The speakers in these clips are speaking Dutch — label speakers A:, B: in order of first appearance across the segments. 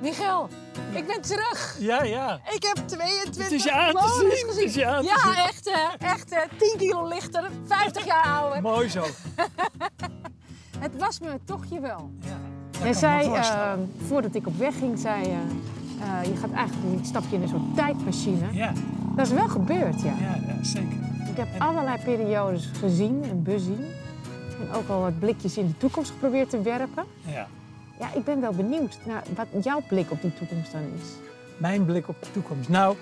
A: Michel, ik ben terug.
B: Ja, ja.
A: Ik heb 22
B: Het is je aan te
A: molens
B: zien, het
A: gezien.
B: is je aan te
A: ja,
B: zien.
A: echt hè. Echt hè. 10 kilo lichter, 50 jaar ouder.
B: Mooi zo.
A: Het was me toch je wel.
B: Ja, dat kan
A: Hij
B: ik
A: zei,
B: me voorstellen.
A: eh, voordat ik op weg ging, zei je... eh, je gaat eigenlijk een stapje in een soort tijdmachine.
B: ja,
A: Dat is wel gebeurd, ja.
B: ja, ja, zeker.
A: Ik heb allerlei periodes gezien en bezien. En ook al wat blikjes in de toekomst geprobeerd te werpen.
B: Ja.
A: Ja, ik ben wel benieuwd naar wat jouw blik op die toekomst dan is.
B: Mijn blik op de toekomst. Nou,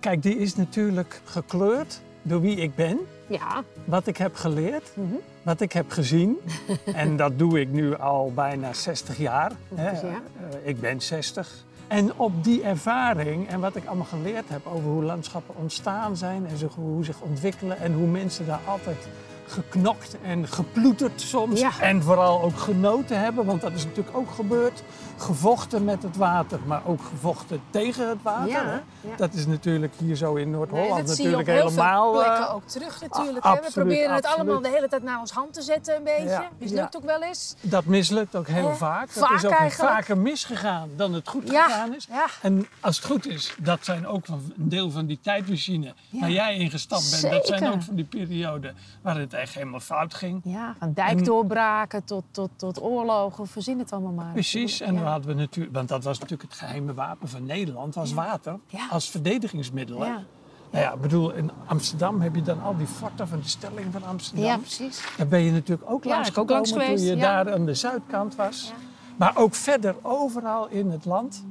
B: kijk, die is natuurlijk gekleurd door wie ik ben,
A: Ja,
B: wat ik heb geleerd,
A: Mhm.
B: wat ik heb gezien. en dat doe ik nu al bijna 60 jaar. hè.
A: Ongeveer, ja.
B: Eh, ik ben 60. En op die ervaring en wat ik allemaal geleerd heb over hoe landschappen ontstaan zijn en zich- hoe zich ontwikkelen en hoe mensen daar altijd geknokt en geploeterd soms
A: Ja.
B: en vooral ook genoten hebben, want dat is natuurlijk ook gebeurd. Gevochten met het water, maar ook gevochten tegen het water.
A: Ja,
B: hè.
A: ja.
B: Dat is natuurlijk hier zo in
C: Nee,
B: Noord-Holland
C: dat zie je op
B: natuurlijk
C: heel
B: helemaal.
C: veel
B: eh,
C: plekken ook terug natuurlijk.
B: a-
C: hè.
B: absoluut,
C: We proberen het
B: absoluut.
C: allemaal de hele tijd naar ons hand te zetten een beetje.
B: Ja,
C: Mislukt
B: ja.
C: ook wel eens.
B: Dat mislukt ook heel
C: Hè?
B: vaak. Dat
C: Vaak
B: is ook
C: eigenlijk.
B: vaker misgegaan dan het goed
C: Ja,
B: gegaan is.
C: ja.
B: En als het goed is, dat zijn ook van- een deel van die tijdmachine waar jij ingestapt bent. Dat zijn
A: Zeker.
B: ook van die perioden waar het echt helemaal fout ging.
A: ja van
B: Mm.
A: dijkdoorbraken tot, tot, tot oorlogen, verzin het allemaal maar.
B: Precies, en
A: Ja.
B: dan hadden we natuurlijk, want dat was natuurlijk het geheime wapen van Nederland, was water
A: Ja.
B: als verdedigingsmiddel. hè?
A: Ja.
B: Nou ja, ik bedoel, in Amsterdam heb je dan al die forten van de stelling van Amsterdam.
A: Ja, precies.
B: Daar ben je natuurlijk ook
A: Ja,
B: langs
A: ik ook langs
B: gekomen
A: geweest,
B: toen je
A: ja.
B: daar aan de zuidkant was. Maar ook verder, overal in het land,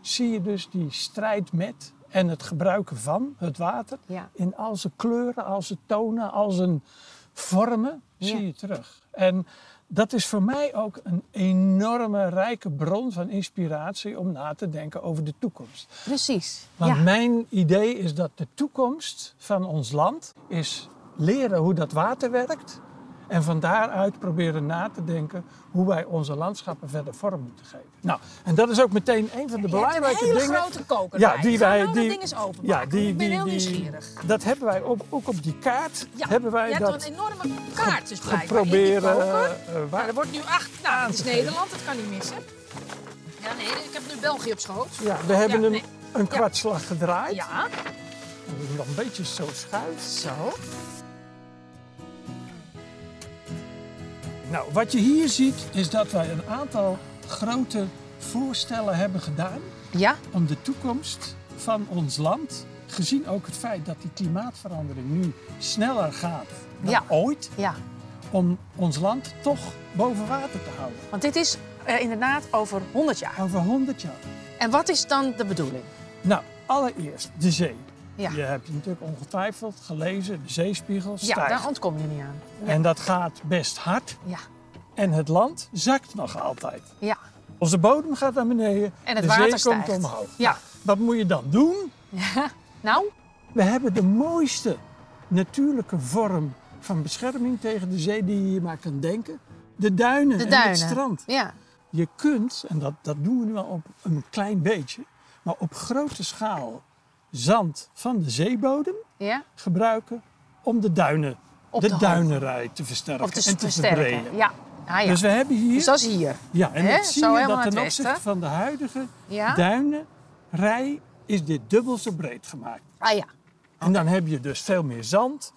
B: zie je dus die strijd met en het gebruiken van het water.
A: Ja.
B: In al zijn kleuren, al zijn tonen, al zijn vormen, zie
A: Ja.
B: je terug. En dat is voor mij ook een enorme, rijke bron van inspiratie om na te denken over de toekomst.
A: Precies.
B: Want
A: ja.
B: mijn idee is dat de toekomst van ons land is leren hoe dat water werkt. En van daaruit proberen na te denken hoe wij onze landschappen verder vorm moeten geven. Nou, en dat is ook meteen een van de
C: Je hebt een
B: belangrijke
C: hele
B: dingen.
C: grote koker.
B: Ja,
C: bij.
B: die
C: Ik ga
B: wij-
C: nou
B: die-
C: dat ding eens openmaken.
B: Ja, die,
C: ik ben
B: die,
C: heel
B: die-
C: nieuwsgierig.
B: Dat hebben wij op, ook op die kaart.
C: Ja,
B: hebben wij
C: je hebt
B: dat
C: een enorme kaart dus blijkbaar in die
B: geprobeerd.
C: koker.
B: eh, eh,
C: Nou,
B: waar-
C: er wordt nu acht. Nou, het is
B: te geven.
C: Nederland, dat kan niet missen. Ja, nee, ik heb nu België op schoot.
B: ja, we hebben
C: Ja,
B: hem
C: nee.
B: een kwartslag gedraaid.
C: Ja,
B: Dat is nog een beetje zo schuif.
C: zo.
B: Nou, wat je hier ziet is dat wij een aantal grote voorstellen hebben gedaan
C: Ja,
B: om de toekomst van ons land, gezien ook het feit dat die klimaatverandering nu sneller gaat dan
C: Ja.
B: ooit,
C: ja.
B: om ons land toch boven water te houden.
C: Want dit is eh, inderdaad over 100 jaar.
B: Over 100 jaar.
C: En wat is dan de bedoeling?
B: Nou, allereerst de zee.
C: Ja.
B: Je hebt natuurlijk ongetwijfeld gelezen, de zeespiegel
C: Ja,
B: stijgt.
C: daar ontkom je niet aan.
B: En dat gaat best hard.
C: Ja,
B: En het land zakt nog altijd.
C: ja.
B: Onze bodem gaat naar beneden.
C: En het
B: de
C: water
B: zee
C: stijgt.
B: komt omhoog.
C: Ja.
B: Wat moet je dan doen?
C: Nou,
B: We hebben de mooiste natuurlijke vorm van bescherming tegen de zee die je hier maar kan denken. De duinen
C: de
B: en
C: duinen.
B: het strand.
C: Ja,
B: Je kunt, en dat, dat doen we nu al op een klein beetje, maar op grote schaal zand van de zeebodem
C: ja.
B: gebruiken om de duinen,
C: Op
B: de,
C: de hoogte.
B: duinenrij te versterken
C: Of te,
B: en te
C: versterken.
B: verbreden.
C: Ja. Ah, ja.
B: Dus
C: Dus,
B: we hebben hier,
C: dat is hier.
B: ja, en
C: hè,
B: dat zie
C: zo
B: je
C: helemaal naar
B: dat ten
C: het
B: opzichte
C: westen.
B: van de huidige
C: Ja.
B: duinenrij is dit dubbel zo breed gemaakt.
C: Ah ja.
B: En dan heb je dus veel meer zand.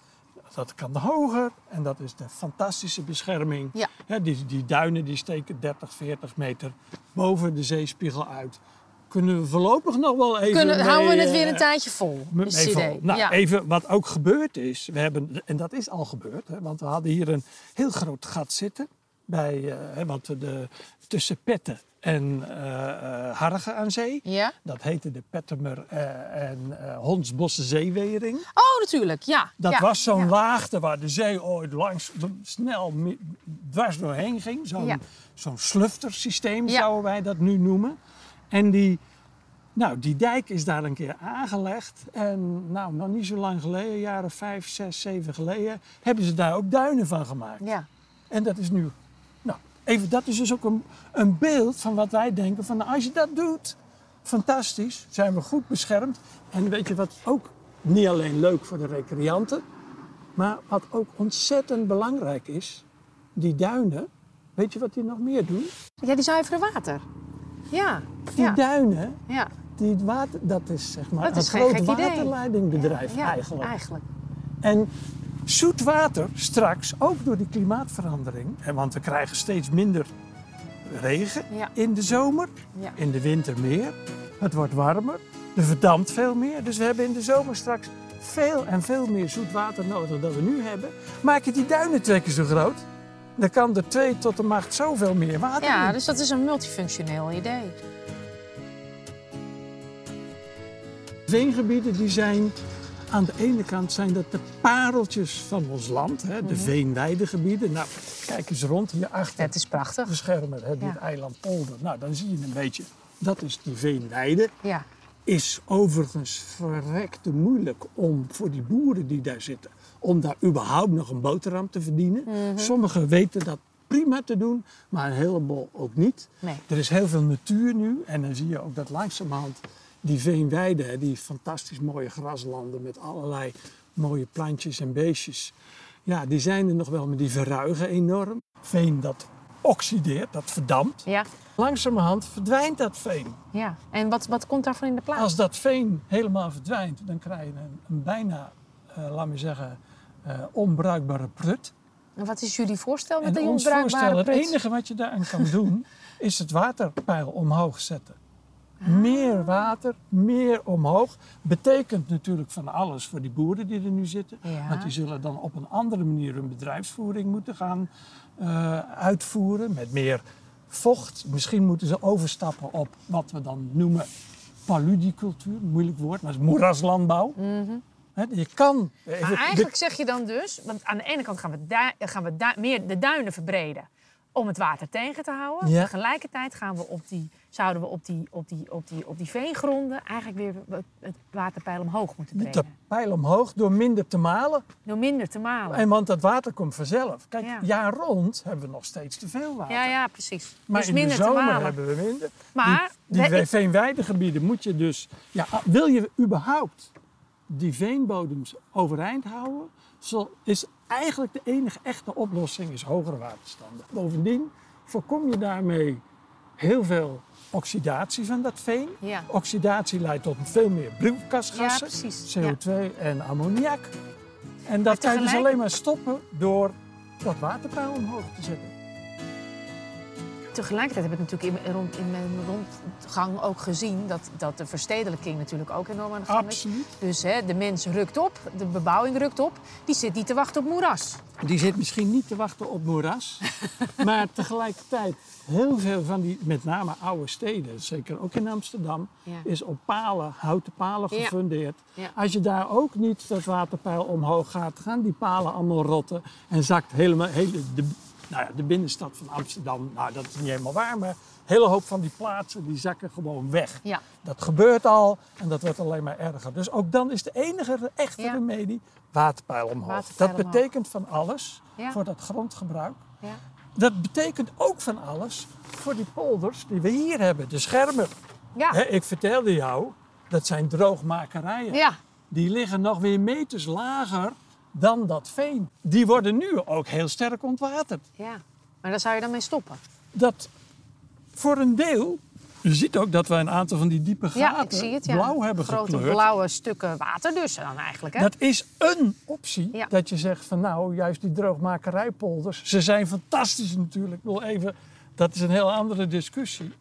B: Dat kan hoger en dat is de fantastische bescherming.
C: Ja.
B: Hè, die, die duinen die steken 30, 40 meter boven de zeespiegel uit. Kunnen we voorlopig nog wel even.
C: Kunnen,
B: mee,
C: houden we het weer
B: eh,
C: een tijdje vol?
B: mee
C: is het
B: vol.
C: idee.
B: Nou,
C: ja.
B: even wat ook gebeurd is. We hebben, en dat is al gebeurd, hè, want we hadden hier een heel groot gat zitten. Bij, eh, hè, want de, tussen Petten en eh, eh, Hargen aan zee.
C: ja.
B: Dat heette de Pettemer eh, en eh Honsbosse Zeewering.
C: Oh, natuurlijk. Ja.
B: Dat
C: ja.
B: was zo'n
C: ja.
B: laagte waar de zee ooit langs snel mi- dwars doorheen ging. Zo'n
C: Ja.
B: zo'n sluftersysteem
C: Ja.
B: zouden wij dat nu noemen. En die, nou, die dijk is daar een keer aangelegd. En nou, nog niet zo lang geleden, jaren vijf, zes, zeven geleden, hebben ze daar ook duinen van gemaakt.
C: Ja.
B: En dat is nu, nou, even, dat is dus ook een, een beeld van wat wij denken van, nou, als je dat doet, fantastisch, zijn we goed beschermd. En weet je wat ook niet alleen leuk voor de recreanten, maar wat ook ontzettend belangrijk is, die duinen, weet je wat die nog meer doen?
C: ja, die zuivere water. Ja.
B: Die
A: Ja.
B: duinen,
A: Ja,
B: die water, dat is zeg maar
A: Dat is
B: een
A: geen
B: groot
A: gek idee.
B: waterleidingbedrijf
A: ja
B: eigenlijk. En zoet water straks, ook door die klimaatverandering, hè, want we krijgen steeds minder regen
A: Ja.
B: in de zomer,
A: Ja.
B: in de winter meer. Het wordt warmer, er verdampt veel meer. Dus we hebben in de zomer straks veel en veel meer zoet water nodig dan we nu hebben. Maak je die duinentrekken zo groot, dan kan er twee tot de macht zoveel meer water
C: Ja,
B: in.
C: dus dat is een multifunctioneel idee.
B: Veengebieden die zijn aan de ene kant zijn dat de pareltjes van ons land, hè, de veenweidegebieden. Nou, kijk eens rond hierachter.
C: Mhm. Het is prachtig.
B: We schermen hè, dit
A: Ja.
B: eiland Polder. Nou, dan zie je een beetje. Dat is die veenweide.
A: Ja.
B: Is overigens verrekte moeilijk om voor die boeren die daar zitten, om daar überhaupt nog een boterham te verdienen.
A: Mhm.
B: Sommigen weten dat prima te doen, maar een heleboel ook niet.
A: Nee.
B: Er is heel veel natuur nu en dan zie je ook dat langzamerhand die veenweide, hè, die fantastisch mooie graslanden met allerlei mooie plantjes en beestjes. Ja, die zijn er nog wel, maar die verruigen enorm. Veen dat oxideert, dat verdampt.
A: Ja.
B: Langzamerhand verdwijnt dat veen.
A: ja. En wat, wat komt daarvan in de plaats?
B: Als dat veen helemaal verdwijnt, dan krijg je een, een bijna, eh, laat me zeggen, eh, onbruikbare prut.
A: En wat is jullie voorstel met
B: En
A: die
B: ons
A: onbruikbare
B: voorstel, het
A: prut?
B: enige wat je daaraan kan doen, is het waterpeil omhoog zetten. Meer water, meer omhoog. Betekent natuurlijk van alles voor die boeren die er nu zitten.
A: Ja.
B: Want die zullen dan op een andere manier hun bedrijfsvoering moeten gaan eh, uitvoeren. Met meer vocht. Misschien moeten ze overstappen op wat we dan noemen paludicultuur. Moeilijk woord, maar het is moeraslandbouw. Hè, je kan...
C: Maar eigenlijk zeg je dan dus, want aan de ene kant gaan we, dui- gaan we dui- meer de duinen verbreden om het water tegen te houden.
B: Ja.
C: Tegelijkertijd gaan we op die, zouden we op die, op, die, op, die, op die veengronden eigenlijk weer het- het waterpeil omhoog moeten
B: de
C: brengen.
B: pijl omhoog door minder te malen.
C: Door minder te malen.
B: En want dat water komt vanzelf. Kijk,
C: Ja.
B: jaar rond hebben we nog steeds te veel water.
C: Ja, ja, precies.
B: Maar
C: dus
B: in
C: minder
B: de zomer
C: te malen.
B: hebben we minder.
C: Maar
B: die die
C: we-
B: we- veenweidegebieden moet je dus... Ja, a- wil je überhaupt die veenbodems overeind houden... Zo is eigenlijk de enige echte oplossing is hogere waterstanden. Bovendien voorkom je daarmee heel veel oxidatie van dat veen.
C: Ja.
B: Oxidatie leidt tot veel meer
C: Ja,
B: broeikasgassen,
C: precies. Ja.
B: CO2 en ammoniak. En dat kan je dus
C: tegelijk-
B: alleen maar stoppen door dat waterpeil omhoog te zetten.
C: Tegelijkertijd heb ik natuurlijk in, rond, in mijn rondgang ook gezien dat, dat de verstedelijking natuurlijk ook enorm aan de gang is.
B: Absoluut.
C: Dus hè, de mens rukt op, de bebouwing rukt op, die zit niet te wachten op moeras.
B: Die zit misschien niet te wachten op moeras. maar tegelijkertijd, heel veel van die, met name oude steden, zeker ook in Amsterdam,
C: Ja.
B: is op palen, houten palen
C: Ja.
B: gefundeerd.
C: Ja.
B: Als je daar ook niet dat waterpeil omhoog gaat, gaan die palen allemaal rotten. En zakt helemaal hele, de, nou ja, de binnenstad van Amsterdam, nou dat is niet helemaal waar, maar een hele hoop van die plaatsen die zakken gewoon weg.
C: Ja.
B: Dat gebeurt al en dat wordt alleen maar erger. Dus ook dan is de enige echte
C: Ja.
B: remedie waterpeil omhoog.
C: Waterpeil
B: dat
C: omhoog.
B: betekent van alles
C: Ja.
B: voor dat grondgebruik.
C: Ja.
B: Dat betekent ook van alles voor die polders die we hier hebben, de schermen.
C: Ja.
B: Hè, ik vertelde jou, dat zijn droogmakerijen.
C: Ja.
B: Die liggen nog weer meters lager dan dat veen. Die worden nu ook heel sterk ontwaterd.
C: ja. Maar daar zou je dan mee stoppen.
B: Dat voor een deel, je ziet ook dat we een aantal van die diepe gaten
C: ja, ik zie het. Ja.
B: blauw hebben
C: Grote
B: gekleurd.
C: blauwe stukken water dus dan eigenlijk. Hè?
B: Dat is een optie.
C: Ja.
B: Dat je zegt van nou, juist die droogmakerijpolders, ze zijn fantastisch natuurlijk. Ik wil even, dat is een heel andere discussie.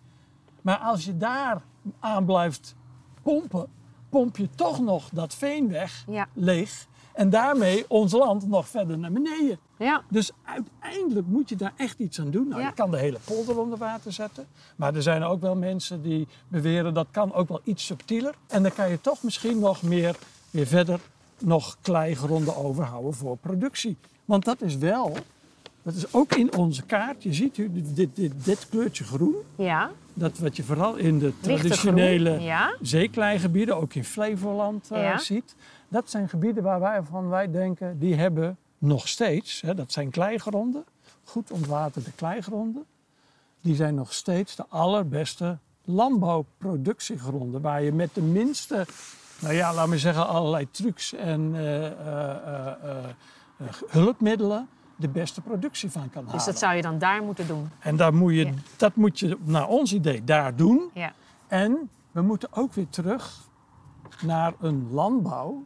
B: Maar als je daar aan blijft pompen, pomp je toch nog dat veen weg,
C: Ja.
B: leeg. En daarmee ons land nog verder naar beneden.
C: Ja.
B: Dus uiteindelijk moet je daar echt iets aan doen. Nou,
C: Ja.
B: Je kan de hele polder onder water zetten. Maar er zijn ook wel mensen die beweren dat kan ook wel iets subtieler. En dan kan je toch misschien nog meer weer verder nog kleigronden overhouden voor productie. Want dat is wel, dat is ook in onze kaart. Je ziet hier dit, dit, dit, dit kleurtje groen.
C: ja.
B: Dat wat je vooral in de
C: groen,
B: traditionele
C: ja.
B: zeekleigebieden, ook in Flevoland, eh,
C: Ja.
B: ziet. Dat zijn gebieden waar wij van wij denken, die hebben nog steeds, hè, dat zijn kleigronden, goed ontwaterde kleigronden. Die zijn nog steeds de allerbeste landbouwproductiegronden. Waar je met de minste, nou ja, laat maar zeggen, allerlei trucs en eh, eh, eh, eh, eh, hulpmiddelen de beste productie van kan halen.
C: Dus dat Dus zou je dan daar moeten doen.
B: En daar moet je,
C: Ja.
B: dat moet je naar ons idee daar doen.
C: Ja.
B: En we moeten ook weer terug naar een landbouw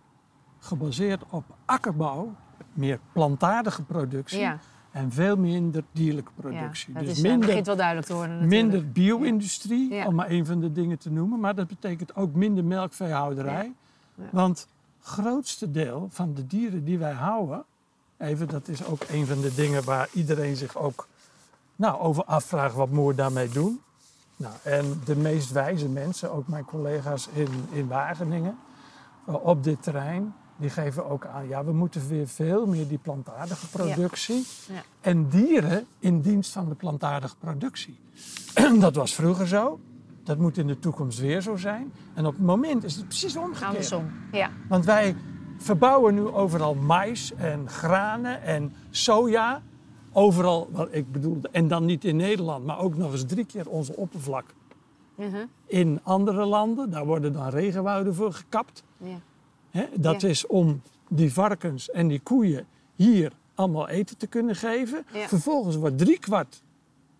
B: gebaseerd op akkerbouw, meer plantaardige productie
C: Ja.
B: en veel minder dierlijke
C: Ja,
B: productie.
C: dat
B: dus
C: is, eh,
B: minder,
C: begint wel duidelijk te worden natuurlijk.
B: minder bio-industrie,
C: Ja.
B: om maar een van de dingen te noemen, maar dat betekent ook minder melkveehouderij.
C: Ja.
B: Want het grootste deel van de dieren die wij houden, even, dat is ook een van de dingen waar iedereen zich ook nou, over afvraagt wat moet je daarmee doen. Nou, en de meest wijze mensen, ook mijn collega's in, in Wageningen, eh, op dit terrein, die geven ook aan, ja, we moeten weer veel meer die plantaardige productie
C: Ja.
B: en dieren in dienst van de plantaardige productie. dat was vroeger zo, dat moet in de toekomst weer zo zijn. En op het moment is het precies omgekeerd.
C: Andersom. Ja.
B: Want wij verbouwen nu overal mais en granen en soja. Overal, wat ik bedoel, en dan niet in Nederland, maar ook nog eens drie keer onze oppervlak.
C: Mhm.
B: In andere landen, daar worden dan regenwouden voor gekapt.
C: ja.
B: Hè? Dat
C: Ja.
B: is om die varkens en die koeien hier allemaal eten te kunnen geven.
C: Ja.
B: Vervolgens wordt driekwart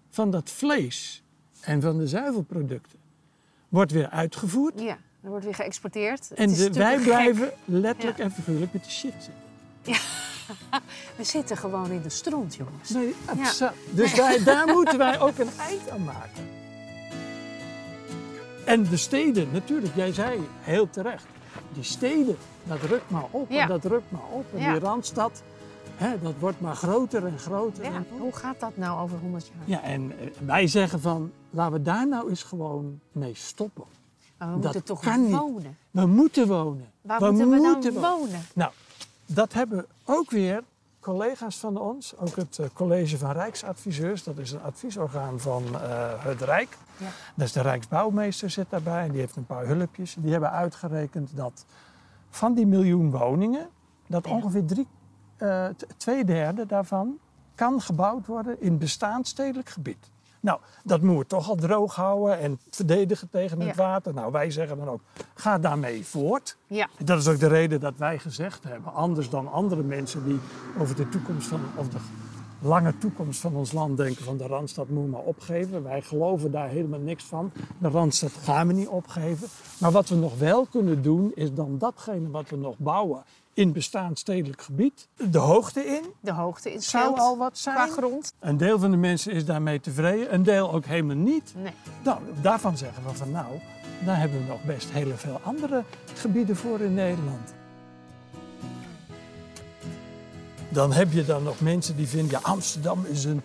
B: van dat vlees en van de zuivelproducten wordt weer uitgevoerd.
C: Ja, er wordt weer geëxporteerd. Het
B: En
C: is
B: de,
C: natuurlijk
B: wij
C: gek.
B: blijven letterlijk
C: Ja.
B: en figuurlijk met die shit zitten.
C: We zitten gewoon in de stront, jongens.
B: Nee, absa- Dus wij, daar moeten wij ook een eind aan maken. En de steden, natuurlijk, jij zei heel terecht. Die steden, dat rukt maar op
C: Ja.
B: en dat rukt maar op. En
C: Ja.
B: die Randstad, hè, dat wordt maar groter en groter.
C: Ja,
B: En,
C: hoe gaat dat nou over 100 jaar?
B: ja, en eh, wij zeggen van, laten we daar nou eens gewoon mee stoppen.
C: Maar we
B: dat
C: moeten toch
B: kan niet.
C: wonen?
B: We moeten wonen.
C: Waar moeten we dan
B: wo-
C: wonen?
B: nou, dat hebben ook weer collega's van ons, ook het eh, college van Rijksadviseurs, dat is een adviesorgaan van eh, het Rijk.
C: Ja.
B: Dus de Rijksbouwmeester zit daarbij en die heeft een paar hulpjes. Die hebben uitgerekend dat van die miljoen woningen, dat
C: Ja.
B: ongeveer drie, eh, t- twee derde daarvan kan gebouwd worden in bestaand stedelijk gebied. Nou, dat moeten we toch al droog houden en verdedigen tegen het
C: Ja.
B: water. Nou, wij zeggen dan ook, ga daarmee voort.
C: Ja,
B: Dat is ook de reden dat wij gezegd hebben, anders dan andere mensen die over de toekomst van, of de lange toekomst van ons land denken, van de Randstad moet maar opgeven. Wij geloven daar helemaal niks van. De Randstad gaan we niet opgeven. Maar wat we nog wel kunnen doen, is dan datgene wat we nog bouwen in bestaand stedelijk gebied, de hoogte in,
C: de hoogte is
B: zou al wat
C: qua
B: zijn.
C: grond.
B: Een deel van de mensen is daarmee tevreden, een deel ook helemaal niet.
C: Nee.
B: Nou, daarvan zeggen we van nou, daar hebben we nog best heel veel andere gebieden voor in Nederland. Dan heb je dan nog mensen die vinden, ja, Amsterdam is een,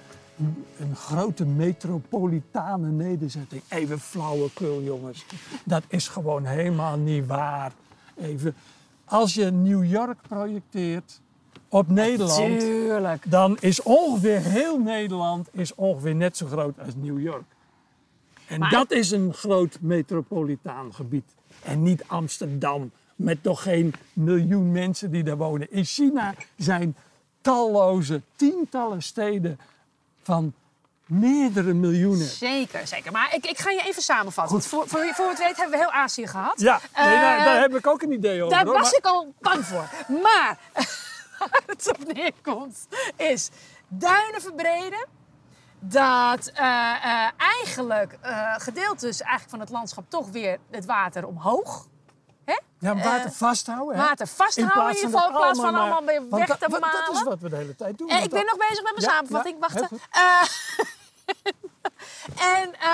B: een grote metropolitane nederzetting. Even flauwekul, jongens. Dat is gewoon helemaal niet waar. Even, als je New York projecteert op Nederland,
C: Tuurlijk.
B: dan is ongeveer heel Nederland is ongeveer net zo groot als New York. En
C: Maar-
B: dat is een groot metropolitaan gebied. En niet Amsterdam met nog geen miljoen mensen die daar wonen. In China zijn talloze, tientallen steden van meerdere miljoenen.
C: Zeker, zeker. Maar ik, ik ga je even samenvatten. Want Voor, voor, voor het weet hebben we heel Azië gehad.
B: Ja, nee, daar,
C: Eh,
B: daar heb ik ook een idee over.
C: Daar
B: hoor,
C: was
B: maar-
C: ik al bang voor. Maar waar het op neerkomt is duinen verbreden. Dat eh, eh, eigenlijk eh, gedeeltes eigenlijk van het landschap toch weer het water omhoog.
B: Ja, maar water vasthouden. hè?
C: eh, Water vasthouden in, ieder
B: dat
C: geval. In plaats van
B: maar-
C: allemaal weer
B: want
C: weg
B: dat-
C: te
B: dat- Dat is
C: malen.
B: wat we de hele tijd doen.
C: Eh,
B: want
C: ik ben
B: dat-
C: nog bezig met mijn
B: Ja,
C: samenvatting.
B: ja,
C: Wacht.
B: heel
C: hè.
B: goed.
C: Eh, en eh,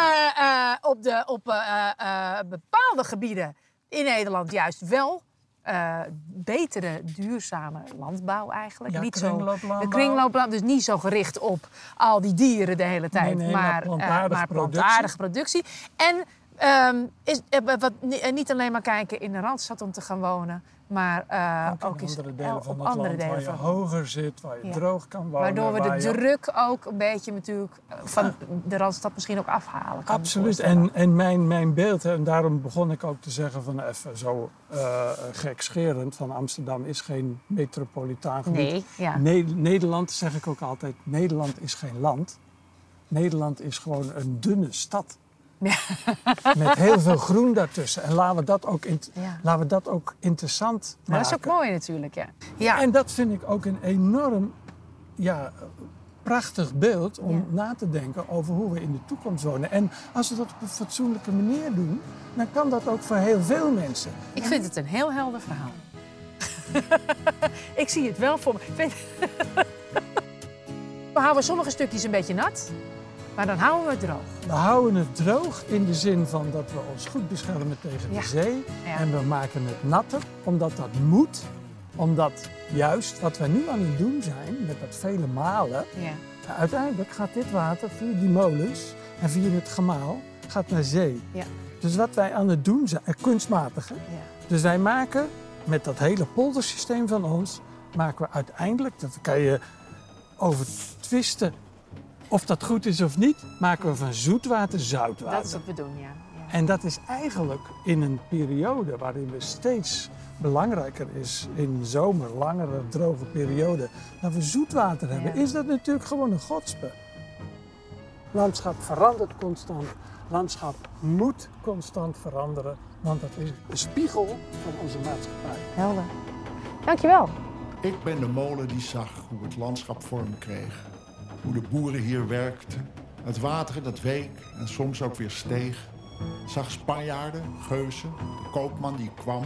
C: eh, op, de, op eh, eh, eh, bepaalde gebieden in Nederland juist wel eh, betere, duurzame landbouw eigenlijk.
B: Ja,
C: niet zo, de
B: kringlooplandbouw.
C: kringloopland, dus niet zo gericht op al die dieren de hele tijd,
B: nee, maar
C: maar, eh,
B: plantaardige
C: maar
B: productie.
C: plantaardige productie. En ehm, is, eh, wat, ni- eh, niet alleen maar kijken in de Randstad om te gaan wonen, maar eh, ook,
B: ook, in
C: eens
B: andere delen
C: op
B: van het
C: andere
B: land
C: delen
B: waar je
C: van
B: hoger zit, waar je
C: Ja.
B: droog kan wonen.
C: Waardoor we de
B: eh, waar je-
C: druk ook een beetje natuurlijk eh, van de Randstad misschien ook afhalen. kan ik me
B: Absoluut.
C: voorstellen.
B: En, en mijn, mijn beeld, hè, en daarom begon ik ook te zeggen van even zo eh gekscherend, van Amsterdam is geen metropolitaan gebied.
C: Nee, ja.
B: Ne- Nederland, zeg ik ook altijd, Nederland is geen land. Nederland is gewoon een dunne stad. Met heel veel groen daartussen. En laten we dat ook, int-
C: Ja.
B: laten we dat ook interessant maken.
C: Maar dat is ook mooi natuurlijk, ja. Ja,
B: En dat vind ik ook een enorm ja, prachtig beeld om
A: Ja.
B: na te denken over hoe we in de toekomst wonen. En als we dat op een fatsoenlijke manier doen, dan kan dat ook voor heel veel mensen.
C: Ik vind het een heel helder verhaal. ik zie het wel voor me. Ik vind- we houden sommige stukjes een beetje nat, maar dan houden we het droog.
B: We houden het droog in de zin van dat we ons goed beschermen tegen
C: Ja.
B: de zee.
C: Ja.
B: En we maken het natter, omdat dat moet. Omdat juist wat we nu aan het doen zijn, met dat vele malen,
C: Ja.
B: Nou, uiteindelijk gaat dit water via die molens en via het gemaal gaat naar zee.
C: Ja.
B: Dus wat wij aan het doen zijn, eh, kunstmatige.
C: Ja.
B: Dus wij maken met dat hele poldersysteem van ons, maken we uiteindelijk, daar kan je over twisten of dat goed is of niet, maken we van zoetwater zoutwater.
C: Dat is wat we doen, ja. ja.
B: En dat is eigenlijk in een periode waarin we steeds belangrijker is in de zomer, langere droge periode, dat we zoetwater hebben,
C: Ja.
B: is dat natuurlijk gewoon een godspe. Landschap verandert constant. Landschap moet constant veranderen, want dat is de spiegel van onze maatschappij.
A: Helder. Dankjewel.
D: Ik ben de molen die zag hoe het landschap vorm kreeg. Hoe de boeren hier werkten. Het water dat week en soms ook weer steeg. Zag Spanjaarden, geuzen, de koopman die kwam.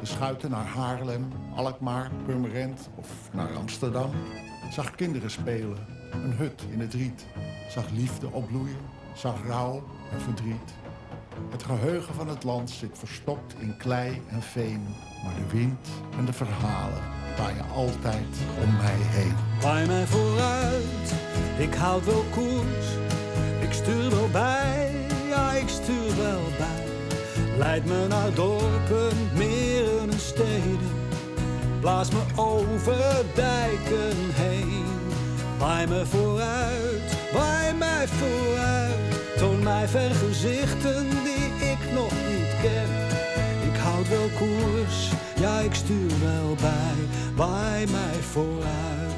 D: De schuiten naar Haarlem, Alkmaar, Purmerend of naar Amsterdam. Zag kinderen spelen, een hut in het riet. Zag liefde opbloeien, zag rouw en verdriet. Het geheugen van het land zit verstopt in klei en veen. Maar de wind en de verhalen waaien altijd om mij heen.
E: Waai mij vooruit, ik houd wel koers. Ik stuur wel bij, ja ik stuur wel bij. Leid me naar dorpen, meren en steden. Blaas me over dijken heen. Waai me vooruit, waai mij vooruit. Toon mij vergezichten die ik nog niet ken. Ik houd wel koers, ja ik stuur wel bij. Waai mij vooruit.